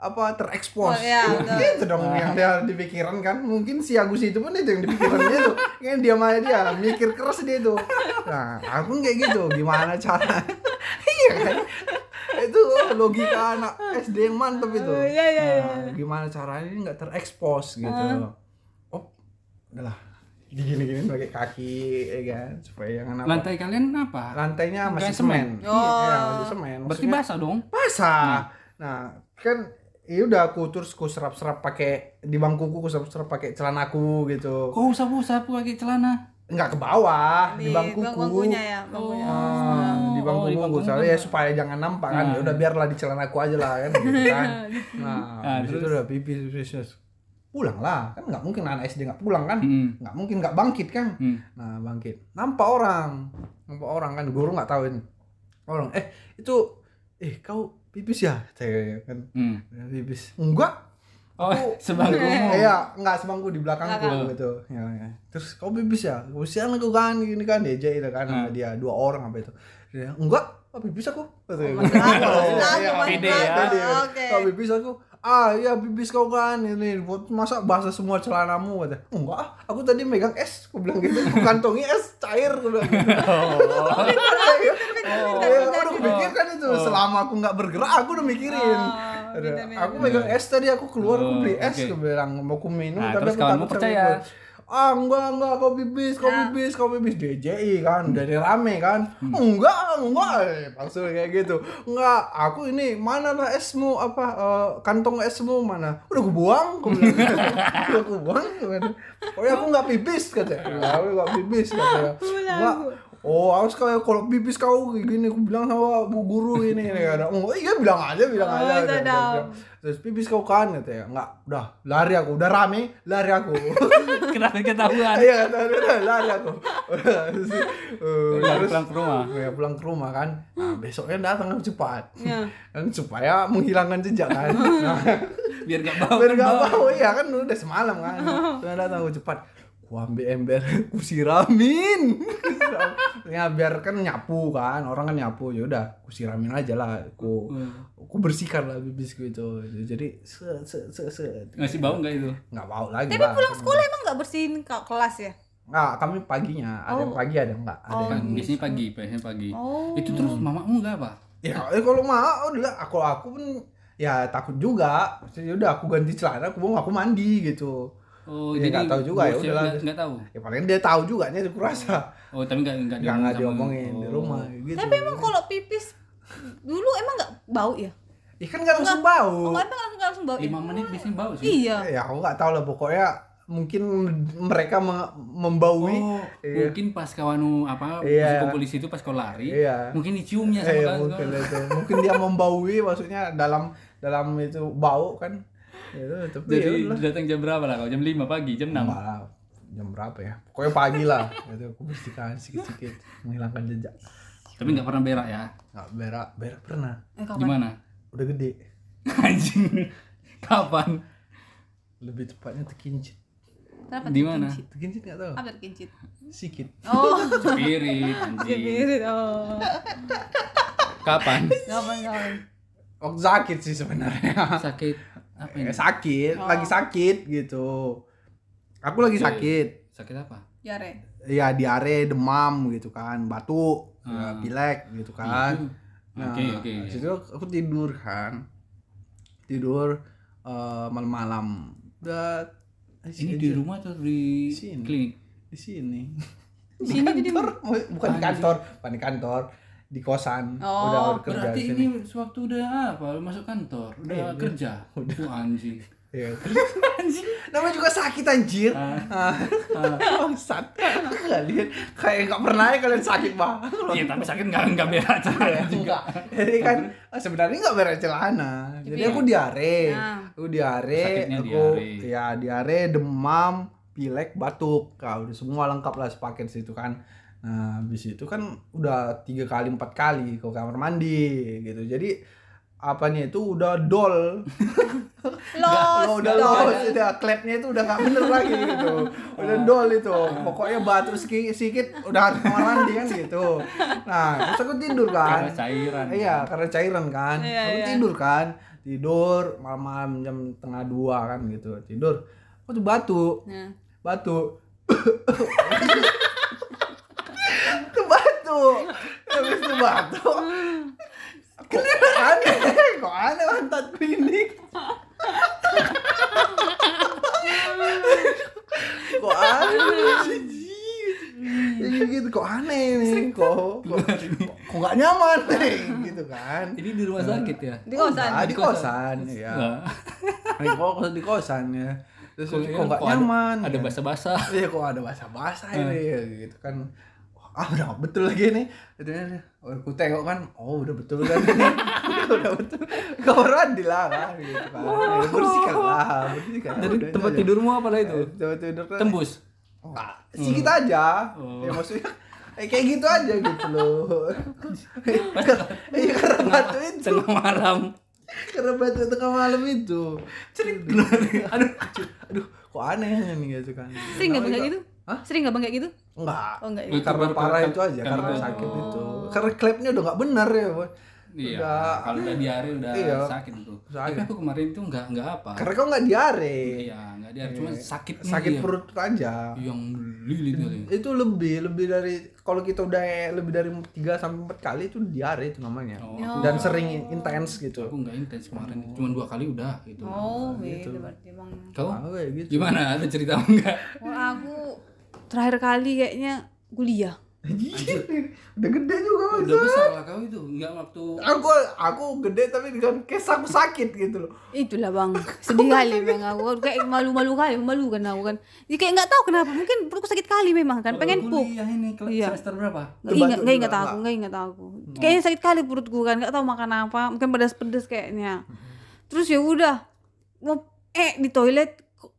S2: apa terekspos
S3: Oh, iya, betul.
S2: itu dong yang dia di pikiran kan mungkin si Agus itu pun itu yang di pikiran dia tuh kan dia aja dia mikir keras dia tuh nah aku kayak gitu gimana cara iya kan itu logika anak SD yang mantep itu
S3: Oh, iya, iya, iya. Hmm.
S2: Nah, gimana caranya ini nggak terekspos gitu oh udahlah digini-gini pakai kaki ya kan supaya jangan apa
S4: lantai kalian apa
S2: lantainya masih
S4: Kayak
S2: semen,
S4: semen.
S3: Oh.
S2: Iya, masih semen
S4: berarti
S2: Maksudnya-
S4: basah dong
S2: basah. Nah, kan ya udah aku terus ku serap-serap pakai di bangkuku ku serap-serap pakai celanaku gitu.
S4: kau usap usap pakai celana
S2: Enggak ke bawah, di
S3: Di ya?
S2: bangkuku.
S3: bangkunya ya, bangkunya.
S2: Ah, di di bangku
S1: oh, di bangku
S2: monggo soalnya ya supaya jangan nampak kan ya udah biarlah di celana aku aja lah kan gitu kan nah, habis itu udah pipis pipis, pipis. pulang lah kan nggak mungkin anak SD nggak pulang kan
S1: Mm-mm.
S2: nggak mungkin nggak bangkit kan
S1: Mm.
S2: nah bangkit nampak orang nampak orang kan guru nggak tahu ini orang eh itu eh kau pipis ya saya kan
S1: Mm.
S2: pipis enggak
S1: Oh,
S2: Aku-
S1: sebangkumu.
S2: Iya, enggak sebangku di belakangku
S1: Belakang.
S2: gitu. Ya, ya. Terus kau bibis ya? Usian aku kan gini kan DJ itu kan sama
S1: Hmm.
S2: dia dua orang apa itu. Dia enggak, kau bibis aku. Kata dia.
S3: masih
S2: Oh,
S3: laku, masih laku,
S2: iya.
S1: masih
S2: Pede ya.
S3: laku.
S2: Pede.
S3: Oke.
S2: Kau bibis aku. Ah, iya bibis kau kan ini buat masa basah semua celanamu kata. Enggak, ah, aku tadi megang es, aku bilang gitu. Aku kantongi es cair aku bilang gitu.
S3: pintar,
S2: Iya,
S3: pintar.
S2: aku udah pikirkan itu
S1: Oh.
S2: selama aku nggak bergerak aku udah mikirin
S3: Oh,
S2: Aduh,
S3: pintar,
S2: aku megang es tadi aku keluar aku
S1: Oh,
S2: beli es
S1: oke.
S2: aku bilang mau aku minum
S1: Nah,
S2: tapi
S1: terus
S2: aku
S1: kawanmu
S2: takut sama
S1: percaya.
S2: ibu. ah enggak enggak kau bibis kau bibis kau bibis DJI kan dari rame kan enggak enggak eh, langsung kayak gitu enggak aku ini mana lah esmu apa eh, kantong esmu mana udah aku buang aku bilang gitu. udah aku buang oh ya aku nggak pipis katanya aku nggak pipis katanya enggak Oh, harus kayak kalau pipis kau kayak gini, aku bilang sama bu guru ini ini kan. Oh iya bilang aja, bilang
S3: Oh,
S2: aja. Udah,
S3: sadam.
S2: udah, udah. Terus pipis kau kan kata ya. Enggak, udah lari aku, udah rame, lari aku.
S1: Kenapa ketahuan?
S2: Iya kata dia, udah lari aku. Udah, terus, eh,
S1: Udah
S2: terus-
S1: pulang ke rumah.
S2: Iya, pulang ke rumah kan. Nah, besoknya datang cepat.
S3: Iya.
S2: Kan supaya menghilangkan jejak kan. Nah,
S1: Biar gak bau.
S2: biar
S1: kan
S2: nggak
S1: bau.
S2: bau ya kan udah semalam kan udah datang aku cepat ku ambil ember ku siramin ya biar kan nyapu kan orang kan nyapu ya udah ku siramin aja lah ku
S1: Hmm.
S2: ku bersihkan lah bibisku itu jadi se se se se
S1: Masih bau gak itu?
S2: nggak bau lagi
S3: Tapi
S2: lah
S3: pulang sekolah emang nggak bersihin ke- kelas ya?
S2: nggak kami paginya ada yang pagi ada yang nggak ada yang
S1: Kan biasanya pagi, biasanya pagi.
S3: Oh.
S1: Itu terus mamamu gak apa?
S2: ya eh, kalau mau udah aku aku pun ya takut juga Maksudnya, ya udah aku ganti celana aku mau aku mandi gitu
S1: Oh,
S2: Ya, nggak tahu juga, ya
S1: bosnya
S2: udahlah.
S1: nggak- nggak tahu.
S2: ya paling dia tahu juga nih aku rasa
S1: Oh, tapi nggak nggak
S2: nggak nggak diomongin
S1: sama-
S2: di
S1: Oh.
S2: rumah gitu.
S3: Tapi emang kalau pipis dulu emang nggak bau ya?
S2: ikan kan nggak langsung bau.
S3: Oh, emang langsung langsung bau.
S1: Lima menit biasanya bau sih.
S3: Iya.
S2: Ya aku nggak tahu lah pokoknya mungkin mereka me- membaui.
S1: Oh,
S2: Iya.
S1: mungkin pas kawanmu apa
S2: Iya.
S1: pas kumpul di situ pas kau lari,
S2: Iya.
S1: mungkin diciumnya sama
S2: Eh,
S1: kawan.
S2: mungkin itu. Mungkin dia membaui maksudnya dalam dalam itu bau kan. Itu tapi ya
S1: Jadi
S2: udah.
S1: datang jam berapa lah kau? Jam 5 pagi, jam 6.
S2: Malah, jam berapa ya? Pokoknya pagi lah. Itu aku bersihkan sedikit-sedikit menghilangkan jejak.
S1: Tapi nggak pernah berak ya.
S2: Nggak berak, berak pernah.
S3: Eh, kapan?
S1: Gimana?
S2: Udah gede.
S1: Anjing. Kapan?
S2: Lebih tepatnya terkincit.
S3: Kenapa?
S1: Di mana?
S3: terkincit?
S2: Terkincit nggak tahu?
S3: Apa terkincit?
S2: Sikit.
S3: Oh,
S1: Spirit anjing.
S3: spirit. Oh.
S1: Kapan?
S3: Kapan kapan?
S2: Waktu Oh, sakit sih sebenarnya.
S1: Sakit apa ini?
S2: Eh, sakit, lagi sakit gitu. Aku lagi
S1: Oke.
S2: sakit.
S1: Sakit apa?
S3: Jare.
S2: Ya diare, demam gitu kan, batuk, ya, pilek gitu
S1: Itu.
S2: kan. Nah,
S1: Oke, oke.
S2: habis itu aku tidur kan. Tidur eh, malam-malam. Udah
S1: Ini di rumah atau di
S2: Sini.
S1: klinik?
S2: di sini.
S3: Di sini jadi
S2: Kantor, bukan di kantor, bukan di kantor, di kosan.
S3: Oh,
S2: udah udah kerja
S1: Berarti
S2: di sini.
S1: ini sewaktu udah apa? Masuk kantor, udah kerja. Udah. anjing.
S2: Iya. Namanya juga sakit anjir. Ah. Bangsat. Kalian kayak nggak pernah ya kalian sakit banget.
S1: Iya, tapi sakit enggak enggak berak
S2: Ya, enggak. Jadi kan ah, sebenarnya nggak beres celana. Jadi aku diare.
S3: Nah.
S2: Aku diare,
S1: Sakitnya
S2: aku
S1: diare.
S2: ya diare, demam, pilek, batuk. Kau udah semua lengkap lah sepaket situ kan. Nah, habis itu kan udah tiga kali empat kali ke kamar mandi gitu. Jadi apanya itu udah dol.
S3: Los.
S2: Oh, udah los, udah klepnya itu udah nggak bener lagi gitu. Udah
S1: Oh.
S2: dol itu. Pokoknya batuk sedikit, sedikit udah harus kamar mandi kan gitu. Nah, terus aku tidur kan.
S1: Karena cairan.
S2: Iya, karena cairan kan.
S3: Iya,
S2: aku
S3: iya.
S2: tidur kan. Tidur malam-malam jam tengah dua kan gitu. Tidur. Aku tuh batuk,
S3: Nah.
S2: batuk. Tuh batuk. Habis itu batuk.
S3: Hmm.
S2: Kenapa aneh? Kok aneh pantat klinik? kok aneh sih? Iya gitu kok aneh nih kok kok kok nggak nyaman nih gitu kan
S1: Ini di rumah sakit ya?
S2: Iya.
S3: Di kosan.
S2: Enggak, di kosan ya
S1: Nah,
S2: di kos di kosan ya terus kok
S1: kok
S2: nggak
S1: ada-
S2: nyaman
S1: Ada
S2: ya.
S1: bahasa-bahasa.
S2: Iya kok ada bahasa bahasa ini ya, gitu kan Wah, ah udah nggak betul lagi nih katanya oh, aku tengok kan oh udah betul kan udah betul koran dilarang gitu kan ya, bersihkanlah bersihkan
S4: Jadi
S2: Iya. Udah,
S4: tempat
S2: aja.
S4: tidurmu apa lah itu?
S2: Eh, tempat tidur kan
S4: Tembus.
S2: Nggak, sedikit aja
S1: Oh.
S2: ya maksudnya eh, kayak gitu aja gitu loh Iya karena batu itu
S4: Tengah malam.
S2: karena batu tengah malam itu cering aduh aduh kok aneh nih gitu kan
S3: Sering nggak bang kayak gitu?
S2: Hah?
S3: Sering nggak bang kayak gitu?
S2: enggak
S3: Oh enggak.
S1: Lu
S3: Ya?
S1: Itu
S2: karena
S1: baru
S2: parah
S1: karena- kan
S2: itu aja
S1: karena-
S2: karena sakit itu karena klaimnya udah nggak benar ya boy
S1: Oh. Iya,
S2: Udah.
S1: kalau udah diare udah
S2: Iya.
S1: sakit itu.
S2: Sakit.
S1: Tapi aku kemarin itu nggak nggak apa.
S2: karena kau nggak diare
S1: Iya, nggak diare, cuma sakit
S2: sakit
S1: dia.
S2: perut aja
S1: yang iya. lilit kali.
S2: itu lebih lebih dari kalau kita udah lebih dari 3 sampai empat kali itu diare itu namanya
S1: Oh,
S2: dan sering intens gitu
S1: Aku nggak intens kemarin, cuma dua kali udah gitu.
S3: Oh beda berarti emang.
S1: Kau
S2: Ah, kayak gitu
S1: gimana? Ada cerita enggak?
S3: Wah, aku terakhir kali kayaknya kuliah.
S2: udah gede juga Mas.
S1: Udah besar lah kau itu, nggak waktu
S2: aku aku gede tapi dengan kes aku sakit gitu loh
S3: Itulah bang, sedih kali bang aku kayak malu-malu kali, malu kan aku kan. Jadi kayak nggak tahu kenapa, mungkin perutku sakit kali memang kan, pengen pup.
S1: kuliah ini kelas
S3: Iya.
S1: semester berapa?
S3: Nggak
S2: Terbantu
S3: ingat, nggak
S2: juga,
S3: ingat aku, nggak ingat aku.
S1: Hmm.
S3: Kayaknya sakit kali perutku kan, nggak tahu makan apa, mungkin pedas-pedas kayaknya. Terus ya udah, mau eh di toilet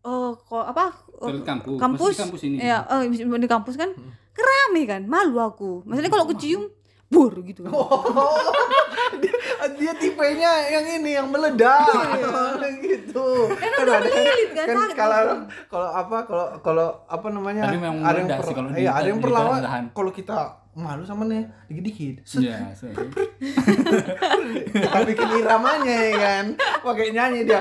S3: eh, kok apa? eh,
S1: Toilet kampus.
S3: kampus,
S1: Maksudnya kampus ini. Hmm.
S3: Iya, eh, di kampus kan, kerame kan, malu aku. Maksudnya kalau kecium, bur gitu.
S1: Oh.
S2: dia, dia tipenya yang ini yang meledak gitu kan
S3: Iya. udah
S2: ada-
S3: melilit, kan?
S2: kan
S3: Sakit
S2: kalau kalau apa kalau kalau apa namanya
S1: Tapi memang
S2: ada yang
S1: meledak sih
S2: per-
S1: kalau gitu, di-
S2: iya ada yang
S1: di
S2: perlawan
S1: daerah-daerahan.
S2: kalau kita malu sama nih dikit-dikit
S1: Iya, saya-
S2: kita bikin iramanya ya kan pakai nyanyi dia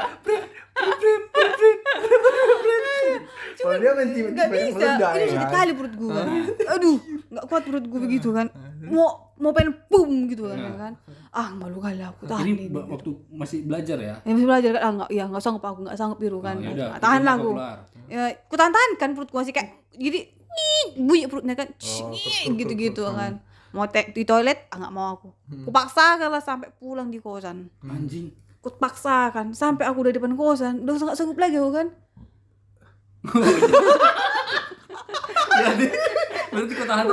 S2: Kalau dia main tipe-
S3: nggak
S2: tipe yang
S3: bisa
S2: meledak,
S3: ini
S2: ya
S3: sakit
S2: kan?
S3: kali perut gue kan aduh nggak kuat perut gue begitu kan mau mau pengen pum gitu kan ya kan ah malu kali
S2: Nah,
S3: aku tahan
S1: Ini
S3: ini
S1: ba- waktu masih belajar ya.
S3: yang bisa belajar kan ah nggak ya nggak sanggup aku nggak sanggup biru kan
S2: Nah,
S1: ya udah,
S3: Nggak tahan lah
S1: akhirnya kau
S3: aku
S1: keluar.
S3: ya aku tahan tahan kan perut gue masih kayak jadi "Nyik", bunyi perutnya kan
S2: Oh,
S3: gitu gitu kan mau te- di toilet ah nggak mau aku
S2: Hmm.
S3: aku paksa kalah sampai pulang di kosan
S1: Anjing.
S3: aku paksa kan sampai aku udah di depan kosan udah nggak sanggup lagi aku kan
S1: Berarti berarti kau tahan.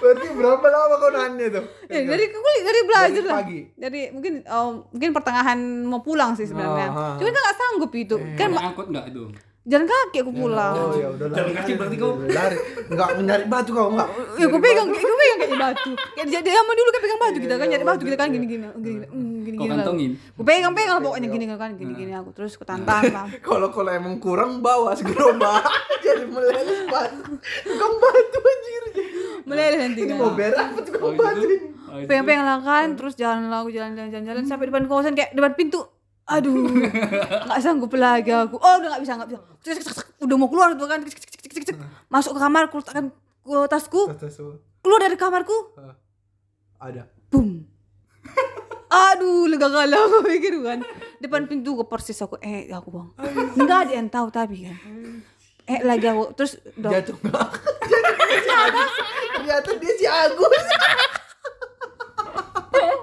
S2: berarti berapa lama kau nahannya tuh
S3: Ya, dari aku dari belajar
S2: Iya. Dari
S3: lah.
S2: pagi?
S3: Dari mungkin oh, mungkin pertengahan mau pulang sih sebenarnya.
S2: Ah, ah.
S3: Cuman kan nggak sanggup itu. Kan
S1: Kau angkut enggak itu?
S3: jalan kaki aku pulang.
S2: Iya. oh ya udah
S1: Jalan kaki berarti kau-
S2: lari nggak mencari batu Iya, kau nggak
S3: Ya, aku pegang, aku pegang kayak batu. Kayak dia dia sama dulu kan pegang batu kita kan nyari
S2: oh,
S3: batu kita kan gini-gini, gini-gini, hmm,
S1: Kau
S3: gini-gini. lah.
S1: kantongin. Nah.
S3: Aku pegang-pegang lah
S2: Iya,
S3: pokoknya gini kan, gini-gini aku terus aku tantang lah.
S2: kalau kalau emang kurang bawa gerobak jadi meleleh batu tukang batu anjir
S3: Meleleh nanti
S2: ini
S3: kan.
S2: mau berak apa tukang
S3: gitu.
S2: batu ini
S1: Oh, itu.
S3: Pegang-pegang lah kan, terus jalan lah aku jalan-jalan-jalan sampai depan kosan kayak depan pintu. Aduh, nggak sanggup lagi aku. Oh, udah nggak bisa, nggak bisa. Cek, cek, cek, cek. Udah mau keluar tuh kan, cek, cek, cek, cek, cek, cek.
S1: Hmm.
S3: masuk ke kamar, aku letakkan ke tasku, keluar dari kamarku,
S2: ada
S3: boom. Aduh, lega kali aku pikir kan. Depan pintu gue persis aku, eh aku bang. Nggak ada yang tahu tapi kan. Eh lagi aku, terus udah
S2: jatuh nggak Jadi ternyata dia si Agus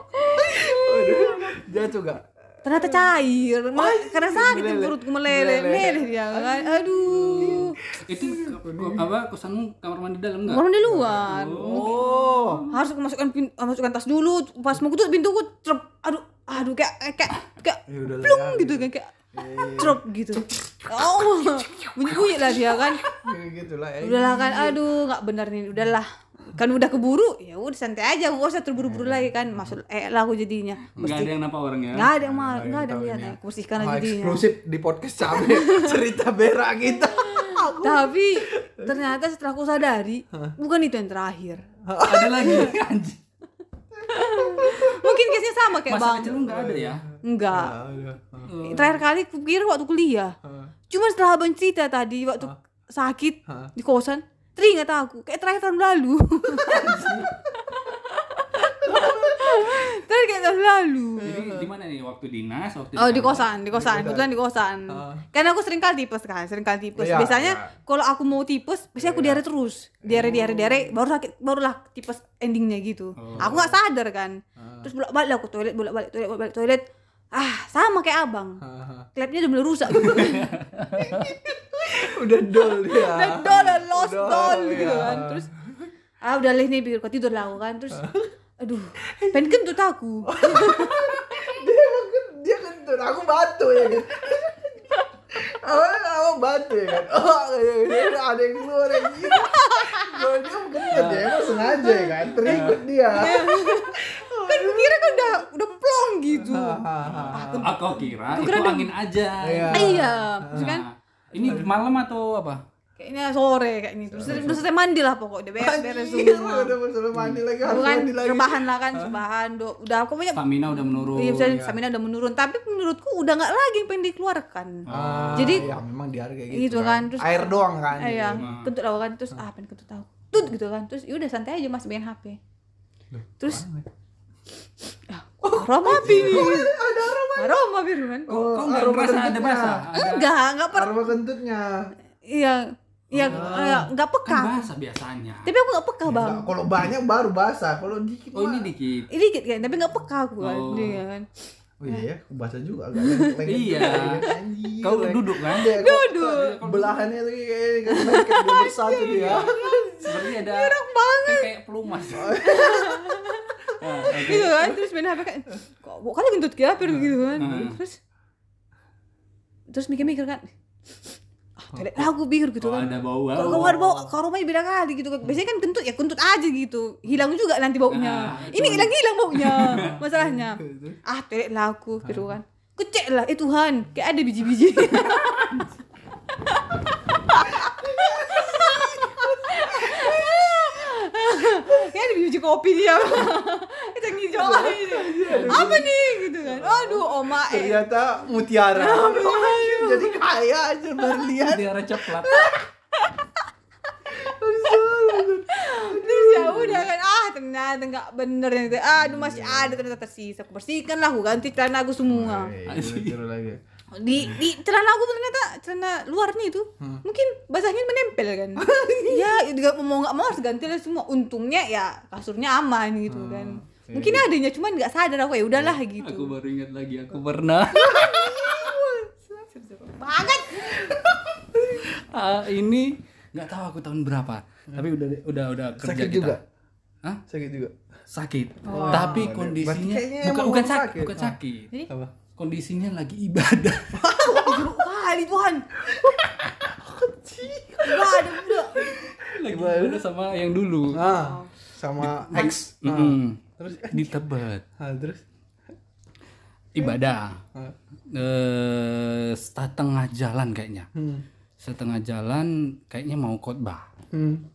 S2: Waduh, jatuh nggak
S3: ternyata cair. Malah karena sakit tuh
S2: meleleh.
S3: perutku meleleh,
S2: Meleleh.
S3: meleleh dia kan. Aduh.
S1: Itu ko- apa kosanmu kamar mandi dalam enggak?
S3: Orang di luar.
S2: oh
S3: Ya harus aku masukkan pin- eh, masukkan tas dulu pas mau tutup pintu aku cerep aduh aduh kayak eh, kayak kayak
S2: Ya udah lah,
S3: plung
S2: ya,
S3: gitu kan kayak cerep gitu oh bunyi bunyi lah dia kan
S2: gitu lah ya
S3: udahlah kan aduh nggak benar nih udahlah kan udah keburu ya udah santai aja gak usah terburu-buru lagi kan masuk eh lah aku jadinya
S1: Enggak ada yang ya. nampak orangnya.
S3: nggak ada yang mal nggak ada yang lihat aku bersihkan lah
S2: Wah,
S3: jadinya
S2: eksklusif di podcast cabe cerita berak kita
S3: tapi ternyata setelah aku sadari bukan itu yang terakhir
S1: Ada lagi anjing.
S3: mungkin case-nya sama kayak
S1: Masa
S3: bang
S1: kecil lu enggak ada ya?
S3: enggak
S2: Nah.
S1: Oh.
S3: terakhir kali aku pikir waktu kuliah cuma setelah abang cerita tadi waktu sakit
S2: Hah?
S3: di kosan teringat aku kayak terakhir tahun lalu terakhir kayak tahun lalu
S1: Jadi di mana nih waktu dinas waktu
S3: oh di
S1: kantor?
S3: kosan di kosan kebetulan di kosan karena aku sering kali tipes kan sering kali tipes
S2: Iya,
S3: biasanya
S2: iya.
S3: kalau aku mau tipes biasanya aku diare terus diare diare diare
S2: Oh.
S3: baru sakit barulah tipes endingnya gitu aku nggak sadar kan terus bolak balik aku toilet bolak balik toilet bolak balik toilet ah sama kayak abang klepnya udah mulai rusak gitu.
S2: udah dol dia
S3: Udah dol, lost
S2: Dol,
S3: dol gitu
S2: iya.
S3: kan terus ah udah leh nih biar kau tidur lah aku kan terus aduh pengen kentut aku
S2: dia emang ken- dia kentut aku batu ya kan awalnya aku batu ya kan oh iya, iya, ada yang keluar yang gitu Gua- dia bukan kentut ya emang sengaja ya kan terikut
S3: Iya.
S2: dia
S3: kan kira kan udah udah plong gitu
S1: Aku Ah, kira
S3: Aku
S1: itu
S3: kira dong.
S1: angin aja.
S2: Iya.
S3: Ah, iya terus kan
S1: Nah, ini malam atau apa?
S3: kayaknya sore kayaknya terus udah selesai mandi lah pokoknya beres beres
S2: Anjir,
S3: semua
S2: udah disuruh mandi lagi harus
S3: aku kan
S2: mandi lagi
S3: rebahan lah kan rebahan do- udah aku punya
S1: Stamina udah menurun.
S3: Iya, misalnya stamina udah menurun, tapi menurutku udah nggak lagi yang pengen dikeluarkan.
S2: Ah,
S3: Jadi-
S2: ya memang di harga gitu,
S3: gitu kan, terus-
S2: air doang kan
S3: Ah, iya, kentut aku kan, terus ah pengen kentut tahu. Tut gitu kan. Terus ya udah santai aja Mas main HP. Terus ah, aroma api nih.
S2: ada aroma
S3: Aroma biru kan.
S1: Kok kok nggak
S2: aroma
S1: merasa ada
S2: kentutnya.
S1: basah? Ada kan
S3: Enggak, enggak per
S2: aroma kentutnya
S3: iya iya eh, enggak
S1: kan
S3: peka.
S1: basah biasanya.
S3: Tapi aku enggak peka, Oh, Bang.
S2: Nah, kalau banyak baru basah kalau dikit
S1: Oh ini
S2: mah-
S1: dikit.
S3: Ini dikit kan, tapi enggak peka aku kan.
S1: Oh.
S3: Iya kan.
S2: oh iya ya aku basah juga agak lengket-lengket
S1: Iya.
S2: juga, anjir,
S1: Kau
S2: lengket.
S1: duduk kan?
S2: Iya, kok- kok belahannya tuh kayak kayak lengket dua bersatu dia
S1: Seperti ada. Enak banget. Kayak pelumas. Nah, oke.
S3: Gitu kan, terus main HP kan. Kok kok kali kentut kayak hampir gitu kan.
S1: Hmm.
S3: Terus terus mikir-mikir kan. Ah, tadi aku pikir gitu
S1: Kalau Oh,
S3: kan.
S1: ada bau eh. bau.
S3: Kalau keluar bau, kalau rumahnya beda kali gitu. Biasanya kan kentut ya kentut aja gitu. Hilang juga nanti baunya.
S1: Nah,
S3: ini hilang hilang baunya. Masalahnya.
S2: Gitu.
S3: Ah, pelek lah aku gitu kan. Kecek lah, eh Tuhan, kayak ada biji-biji. kayak ada biji kopi dia. Kita hijau aja. Apa nih gitu kan. Aduh, oma
S2: Iya,
S3: eh.
S2: ternyata mutiara Oh, anjir, jadi kaya aja berlian
S1: Di arah coklat.
S2: Gitu.
S3: terus ya udah kan ah ternyata nggak bener yang itu aduh masih ada ternyata tersisa aku bersihkan lah aku ganti celana aku semua
S2: Iya. Tiru lagi.
S3: di di celana aku ternyata celana luar nih itu mungkin basahnya menempel kan ya juga mau nggak mau harus ganti lah semua untungnya ya kasurnya aman gitu kan mungkin adanya cuman nggak sadar aku ya udahlah
S1: Aku
S3: gitu iya,
S1: baru ingat lagi aku pernah.
S3: banget
S1: Ah, ini nggak tahu aku tahun berapa. Tapi udah udah udah kerja
S2: Sakit
S1: kita.
S2: juga?
S1: Hah?
S2: Sakit juga.
S1: Sakit.
S3: Oh.
S1: Tapi kondisinya
S2: Berarti kayaknya
S1: bukan
S2: emang
S1: bukan
S2: kamu
S1: sakit,
S2: sakit.
S1: bukan
S2: Ah.
S1: sakit.
S3: Jadi?
S2: Apa?
S1: Kondisinya lagi ibadah.
S3: jeruk kali Tuhan Wah, ada budak.
S1: lagi ibadah sama yang dulu.
S2: Ah, sama X.
S1: Mm-mm. di Tebet.
S2: Ah, terus
S1: ibadah
S2: Ah.
S1: eh setengah jalan kayaknya
S2: Hmm.
S1: setengah jalan kayaknya mau khotbah
S2: Hmm.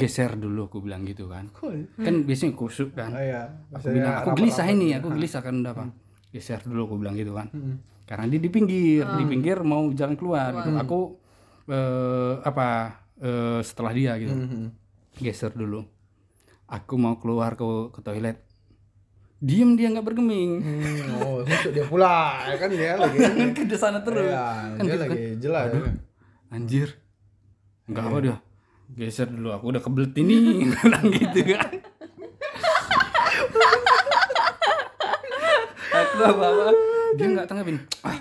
S1: geser dulu aku bilang gitu kan
S2: Cool.
S1: kan biasanya kusuk kan
S2: Ah ya,
S1: aku bilang aku gelisah ini aku gelisah kan udah apa geser dulu aku bilang gitu kan
S2: Hmm.
S1: karena dia di pinggir di pinggir mau jalan keluar gitu aku eh, apa eh, setelah dia gitu
S2: Hmm.
S1: geser dulu aku mau keluar ke ke toilet diem dia nggak bergeming
S2: Oh, besok dia pula ya kan dia lagi.
S1: Jangan ke sana terus.
S2: Ya, dia lagi jelas. ya kan?
S1: Anjir. Enggak apa dia. Geser dulu aku udah kebelet ini bilang gitu kan. aku apa apa dia nggak tanggapin. Ah,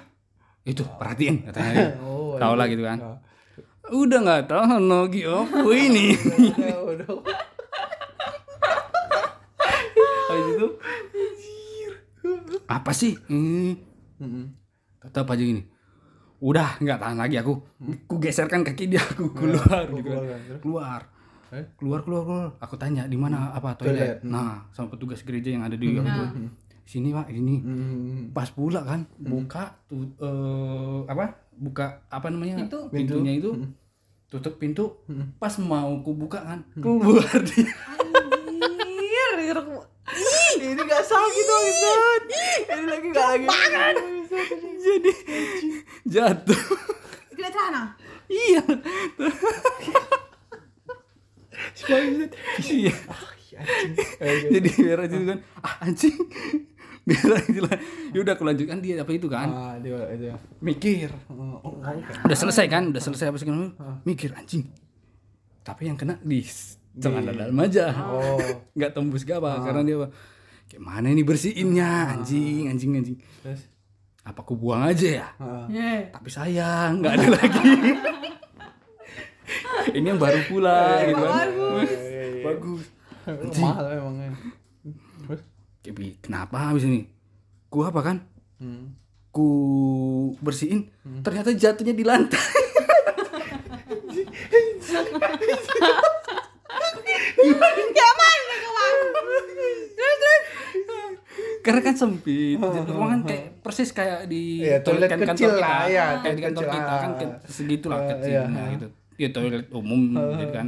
S1: itu perhatiin katanya. gitu.
S2: Oh,
S1: Tahu lah gitu kan. Udah nggak tahu nogi apa ini.
S2: Udah, udah.
S1: Habis itu apa sih? Hmm.
S2: Mm-mm.
S1: tetap aja gini udah nggak tahan lagi aku ku geserkan kaki dia aku keluar gitu kan.
S2: keluar, terus?
S1: keluar
S2: Eh?
S1: keluar keluar keluar aku tanya di mana apa
S2: Toilet, Hmm.
S1: toilet nah sama petugas gereja yang ada di
S2: Iya.
S1: apa
S2: Nah.
S1: tuh. sini pak ini
S2: Mm-mm.
S1: pas pula kan buka tuh eh, apa buka apa namanya
S3: Pintu.
S1: pintunya itu
S2: Hmm.
S1: tutup pintu pas mau ku buka kan keluar dia
S3: Anjir, jeruk
S2: Ini gak sakit
S3: gitu,
S2: dong, Izan. Ini lagi gak lagi.
S1: jadi jatuh
S3: Tidak celana.
S1: iya
S2: Sakit.
S1: iya
S2: Anjing.
S1: jadi merah itu kan ah anjing merah itu lah yaudah aku lanjutkan dia apa itu kan
S2: Ah, dia itu.
S1: mikir
S2: Oh, enggak, enggak.
S1: udah selesai kan udah selesai apa segala macam. mikir anjing tapi yang kena di celana dalam aja
S2: Oh.
S1: nggak tembus gak apa karena dia apa kayak mana ini bersihinnya anjing anjing anjing
S2: Terus.
S3: Iya.
S1: apa aku buang aja ya
S2: Ah.
S1: tapi sayang nggak ada lagi ini yang baru pula gitu kan
S3: Bagus.
S1: bagus
S2: Iya, Anjing. Mahal ya. emangnya. Terus?
S1: Kepi, kenapa habis ini ku apa kan
S2: Hmm.
S1: ku bersihin ternyata jatuhnya di lantai
S3: Nyaman ke Terus terus.
S1: karena kan sempit ruangan kayak persis kayak di
S2: Oh, Iya, toilet
S1: kan
S2: kecil lah, iya,
S1: kayak di
S2: toilet
S1: kantor
S2: kecil,
S1: kita kan kayak segitulah
S2: Ah,
S1: kecilnya
S2: iya, Oh. ah.
S1: gitu ya toilet umum gitu kan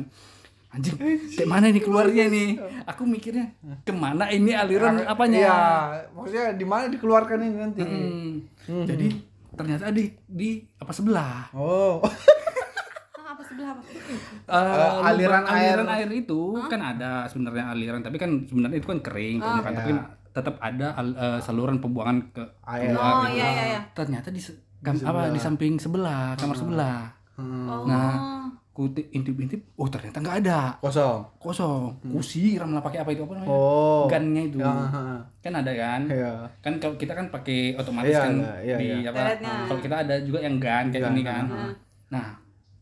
S1: anjing kayak mana nih keluarnya nih aku mikirnya kemana ini aliran apanya
S2: Iya, maksudnya di mana dikeluarkan ini nanti?
S1: Hmm. jadi ternyata di di apa sebelah
S2: Oh.
S3: Ah, apa sebelah apa?
S1: Eh, lubang-
S2: aliran air.
S1: aliran air itu kan ada sebenarnya aliran tapi kan sebenarnya itu kan kering
S3: Ah.
S1: kan, kan, tapi tetap ada al- eh, saluran pembuangan ke
S2: Air.
S1: keluar
S3: Oh
S1: gitu.
S3: iya iya iya.
S1: ternyata di, se- kam- apa di samping sebelah kamar sebelah
S2: Hmm.
S3: Oh.
S1: Nah. kutip intip-intip oh ternyata nggak ada
S2: Kosong.
S1: kosong kusiram lah pakai apa itu apa namanya
S2: Oh.
S1: Gunnya itu
S2: Ya, ha, ha.
S1: kan ada kan
S2: Iya.
S1: kan kalau kita kan pakai otomatis
S2: Iya,
S1: kan
S2: nah, iya,
S1: di
S2: iya.
S1: apa hmm,
S3: Toiletnya.
S1: kalau kita ada juga yang gan kayak
S2: Gun,
S1: gini kan
S3: nah.
S1: nah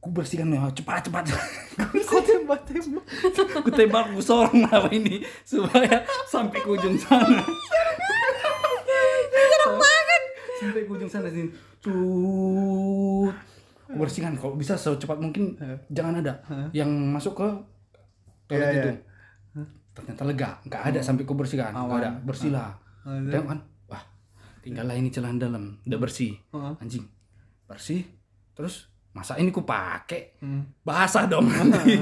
S1: ku bersihkan ya cepat cepat
S2: Kok tembak-tembak?
S1: ku tembak ku sorong apa ini supaya sampai ke ujung sana serem banget sampai ke ujung sana sini tut Ku bersihkan kalau bisa secepat mungkin jangan ada yang masuk ke toilet
S2: Iya, iya.
S1: itu ternyata lega nggak ada sampai ku bersihkan nggak ada bersihlah
S2: Ada.
S1: tengok kan wah tinggallah ini celah dalam udah bersih
S2: Heeh.
S1: anjing bersih terus masa ini ku pakai
S2: Hmm.
S1: basah dong nanti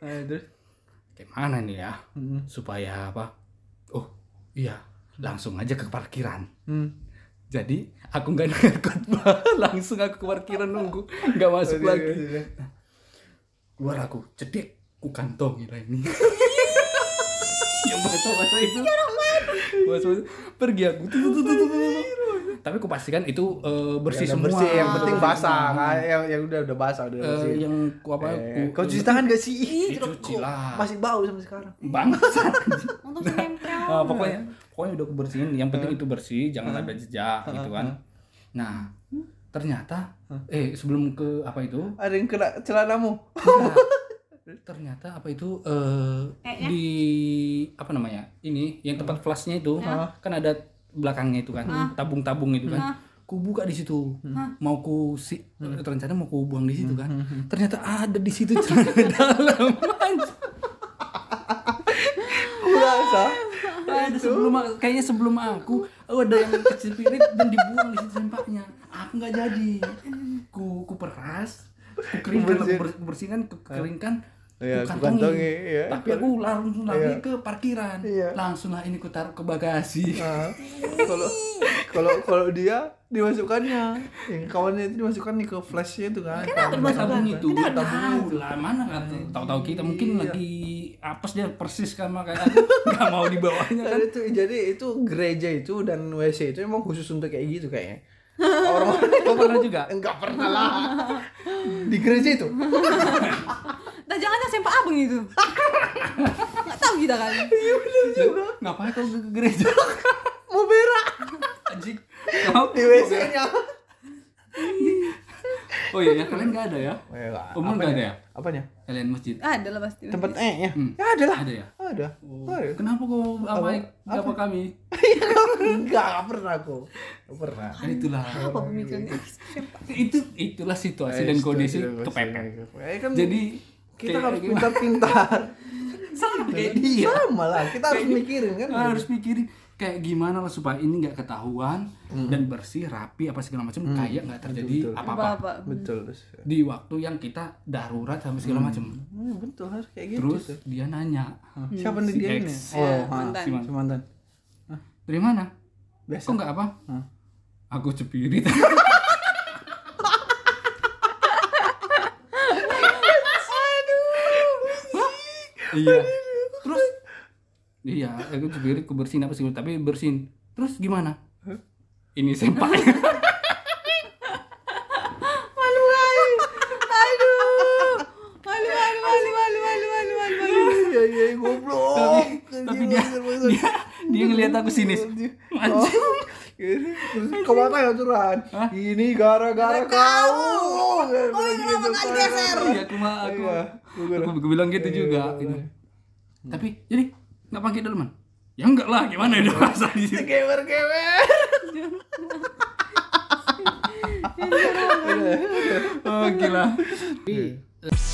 S2: Eh, terus?
S1: gimana nih ya
S2: Hmm.
S1: supaya apa oh iya langsung aja ke parkiran
S2: Hmm.
S1: jadi aku nggak ngangkut bah langsung aku ke parkiran nunggu nggak masuk lagi keluar aku cedek ku kantong gila ini yang bahasa bahasa Ya, itu bahasa bahasa pergi aku tuh, tuh, tuh, tuh, tuh, tuh. tapi aku pastikan itu eh, bersih
S2: Yang
S1: semua
S2: bersih, yang penting
S1: Bersih
S2: basah.
S1: semua.
S2: Kan? Yang yang udah udah basah, udah
S1: Eh,
S2: bersih.
S1: yang ku apa
S2: Eh,
S1: ku
S2: kau cuci tangan gak sih? Ih,
S1: dicuci lah
S2: Masih bau sampai sekarang.
S1: bangsat
S3: Untung sih nempel.
S1: Nah, pokoknya pokoknya udah kebersihin yang
S2: Eh.
S1: penting itu bersih jangan ada jejak gitu kan nah ternyata eh sebelum ke apa itu
S2: Ada yang kena celanamu.
S1: Nah, ternyata apa itu eh,
S3: Kayaknya.
S1: di apa namanya ini yang tempat flashnya itu kan ada belakangnya itu kan tabung-tabung itu kan ku buka di situ mau ku si rencana mau ku buang di situ kan ternyata ada di situ celana dalam
S2: Kurasa.
S1: Eh, ada sebelum kayaknya sebelum aku oh, ada yang kecil pirit dan dibuang di situ sampahnya aku nggak jadi ku ku peras ku keringkan
S2: Bersihin.
S1: ber- bersihkan ku keringkan
S2: Iya,
S1: ku
S2: ku
S1: kantongi.
S2: kantongi, iya.
S1: tapi aku langsung lari
S2: Iya.
S1: ke parkiran
S2: Iya.
S1: langsung lah ini ku taruh ke bagasi
S2: Nah, Kalau kalau kalau dia dimasukkannya, yang kawannya itu dimasukkan nih ke flashnya itu kan.
S3: Kenapa dimasukkan?
S1: tabung itu
S3: Kenapa?
S1: tahu lah mana kan
S2: Iya.
S1: tahu-tahu kita mungkin lagi apes dia persis sama kayak aku nggak mau dibawanya kan
S2: Jadi Nah, itu jadi itu gereja itu dan WC itu emang khusus untuk kayak gitu kayaknya. Orang-orang
S1: Kau pernah juga
S2: enggak pernah lah. Di gereja itu.
S3: Nah, jangan yang sempak abang itu. Enggak tahu kita kan.
S2: Iya.
S1: ngapain kau ke gereja
S2: Mau berak
S1: anjing kau
S2: di WC-nya.
S1: Oh iya, ya, kalian nggak ada ya? Umum nggak ada ya?
S2: Apanya?
S1: Kalian masjid?
S3: Ada lah pasti.
S2: Tempat E-nya.
S1: Hmm.
S2: Ya ada lah.
S1: Ada ya?
S2: Ada. Ada.
S1: Kenapa kok apa apa kami? Ya,
S2: Enggak, enggak pernah aku. Enggak pernah.
S1: Kan itulah.
S3: Apa pemikirannya? Sempak.
S1: Itu itulah situasi dan kondisi kepepet.
S2: Eh, kan
S1: Jadi
S2: kita
S1: kayak
S2: harus
S1: gimana?
S2: pintar-pintar. Iya.
S1: sama kayak dia.
S2: Sama lah, kita harus mikirin kan.
S1: Ah, harus mikirin kayak gimana lah supaya ini nggak ketahuan
S2: Hmm.
S1: dan bersih rapi apa segala macam kayak nggak terjadi apa-apa
S2: Iya.
S3: Apa-apa.
S2: Betul. Terus.
S1: di waktu yang kita darurat sama segala macam
S2: Hmm, betul harus kayak gitu.
S1: terus dia nanya
S2: Siapa nih
S1: si
S2: dia
S1: X.
S2: ini?
S3: Ya,
S2: ha, Oh,
S3: mantan.
S2: ah, si mantan. Si mantan.
S1: dari mana
S2: Biasa. Ah.
S1: kok nggak apa
S2: Hah.
S1: aku cepirit iya terus iya aku sendiri aku bersihin apa sih tapi bersihin terus gimana ini sempak
S3: Malu ay. Aduh. Malu malu malu malu malu malu malu. malu.
S2: Iya, iya, goblok. iya,
S1: tapi dia dia, dia ngelihat aku sinis anjing
S2: Gini. Terus kau tanya curahan. Ini gara-gara kau. gitu,
S3: Oh, ini kenapa nggak
S2: Oh.
S3: digeser?
S1: iya aku mah aku ah.
S2: Iya.
S1: aku, aku bilang gitu juga gitu. tapi jadi nggak pakai daleman ya enggak lah gimana ya rasa di sini
S2: Gewer-gewer.
S1: oh gila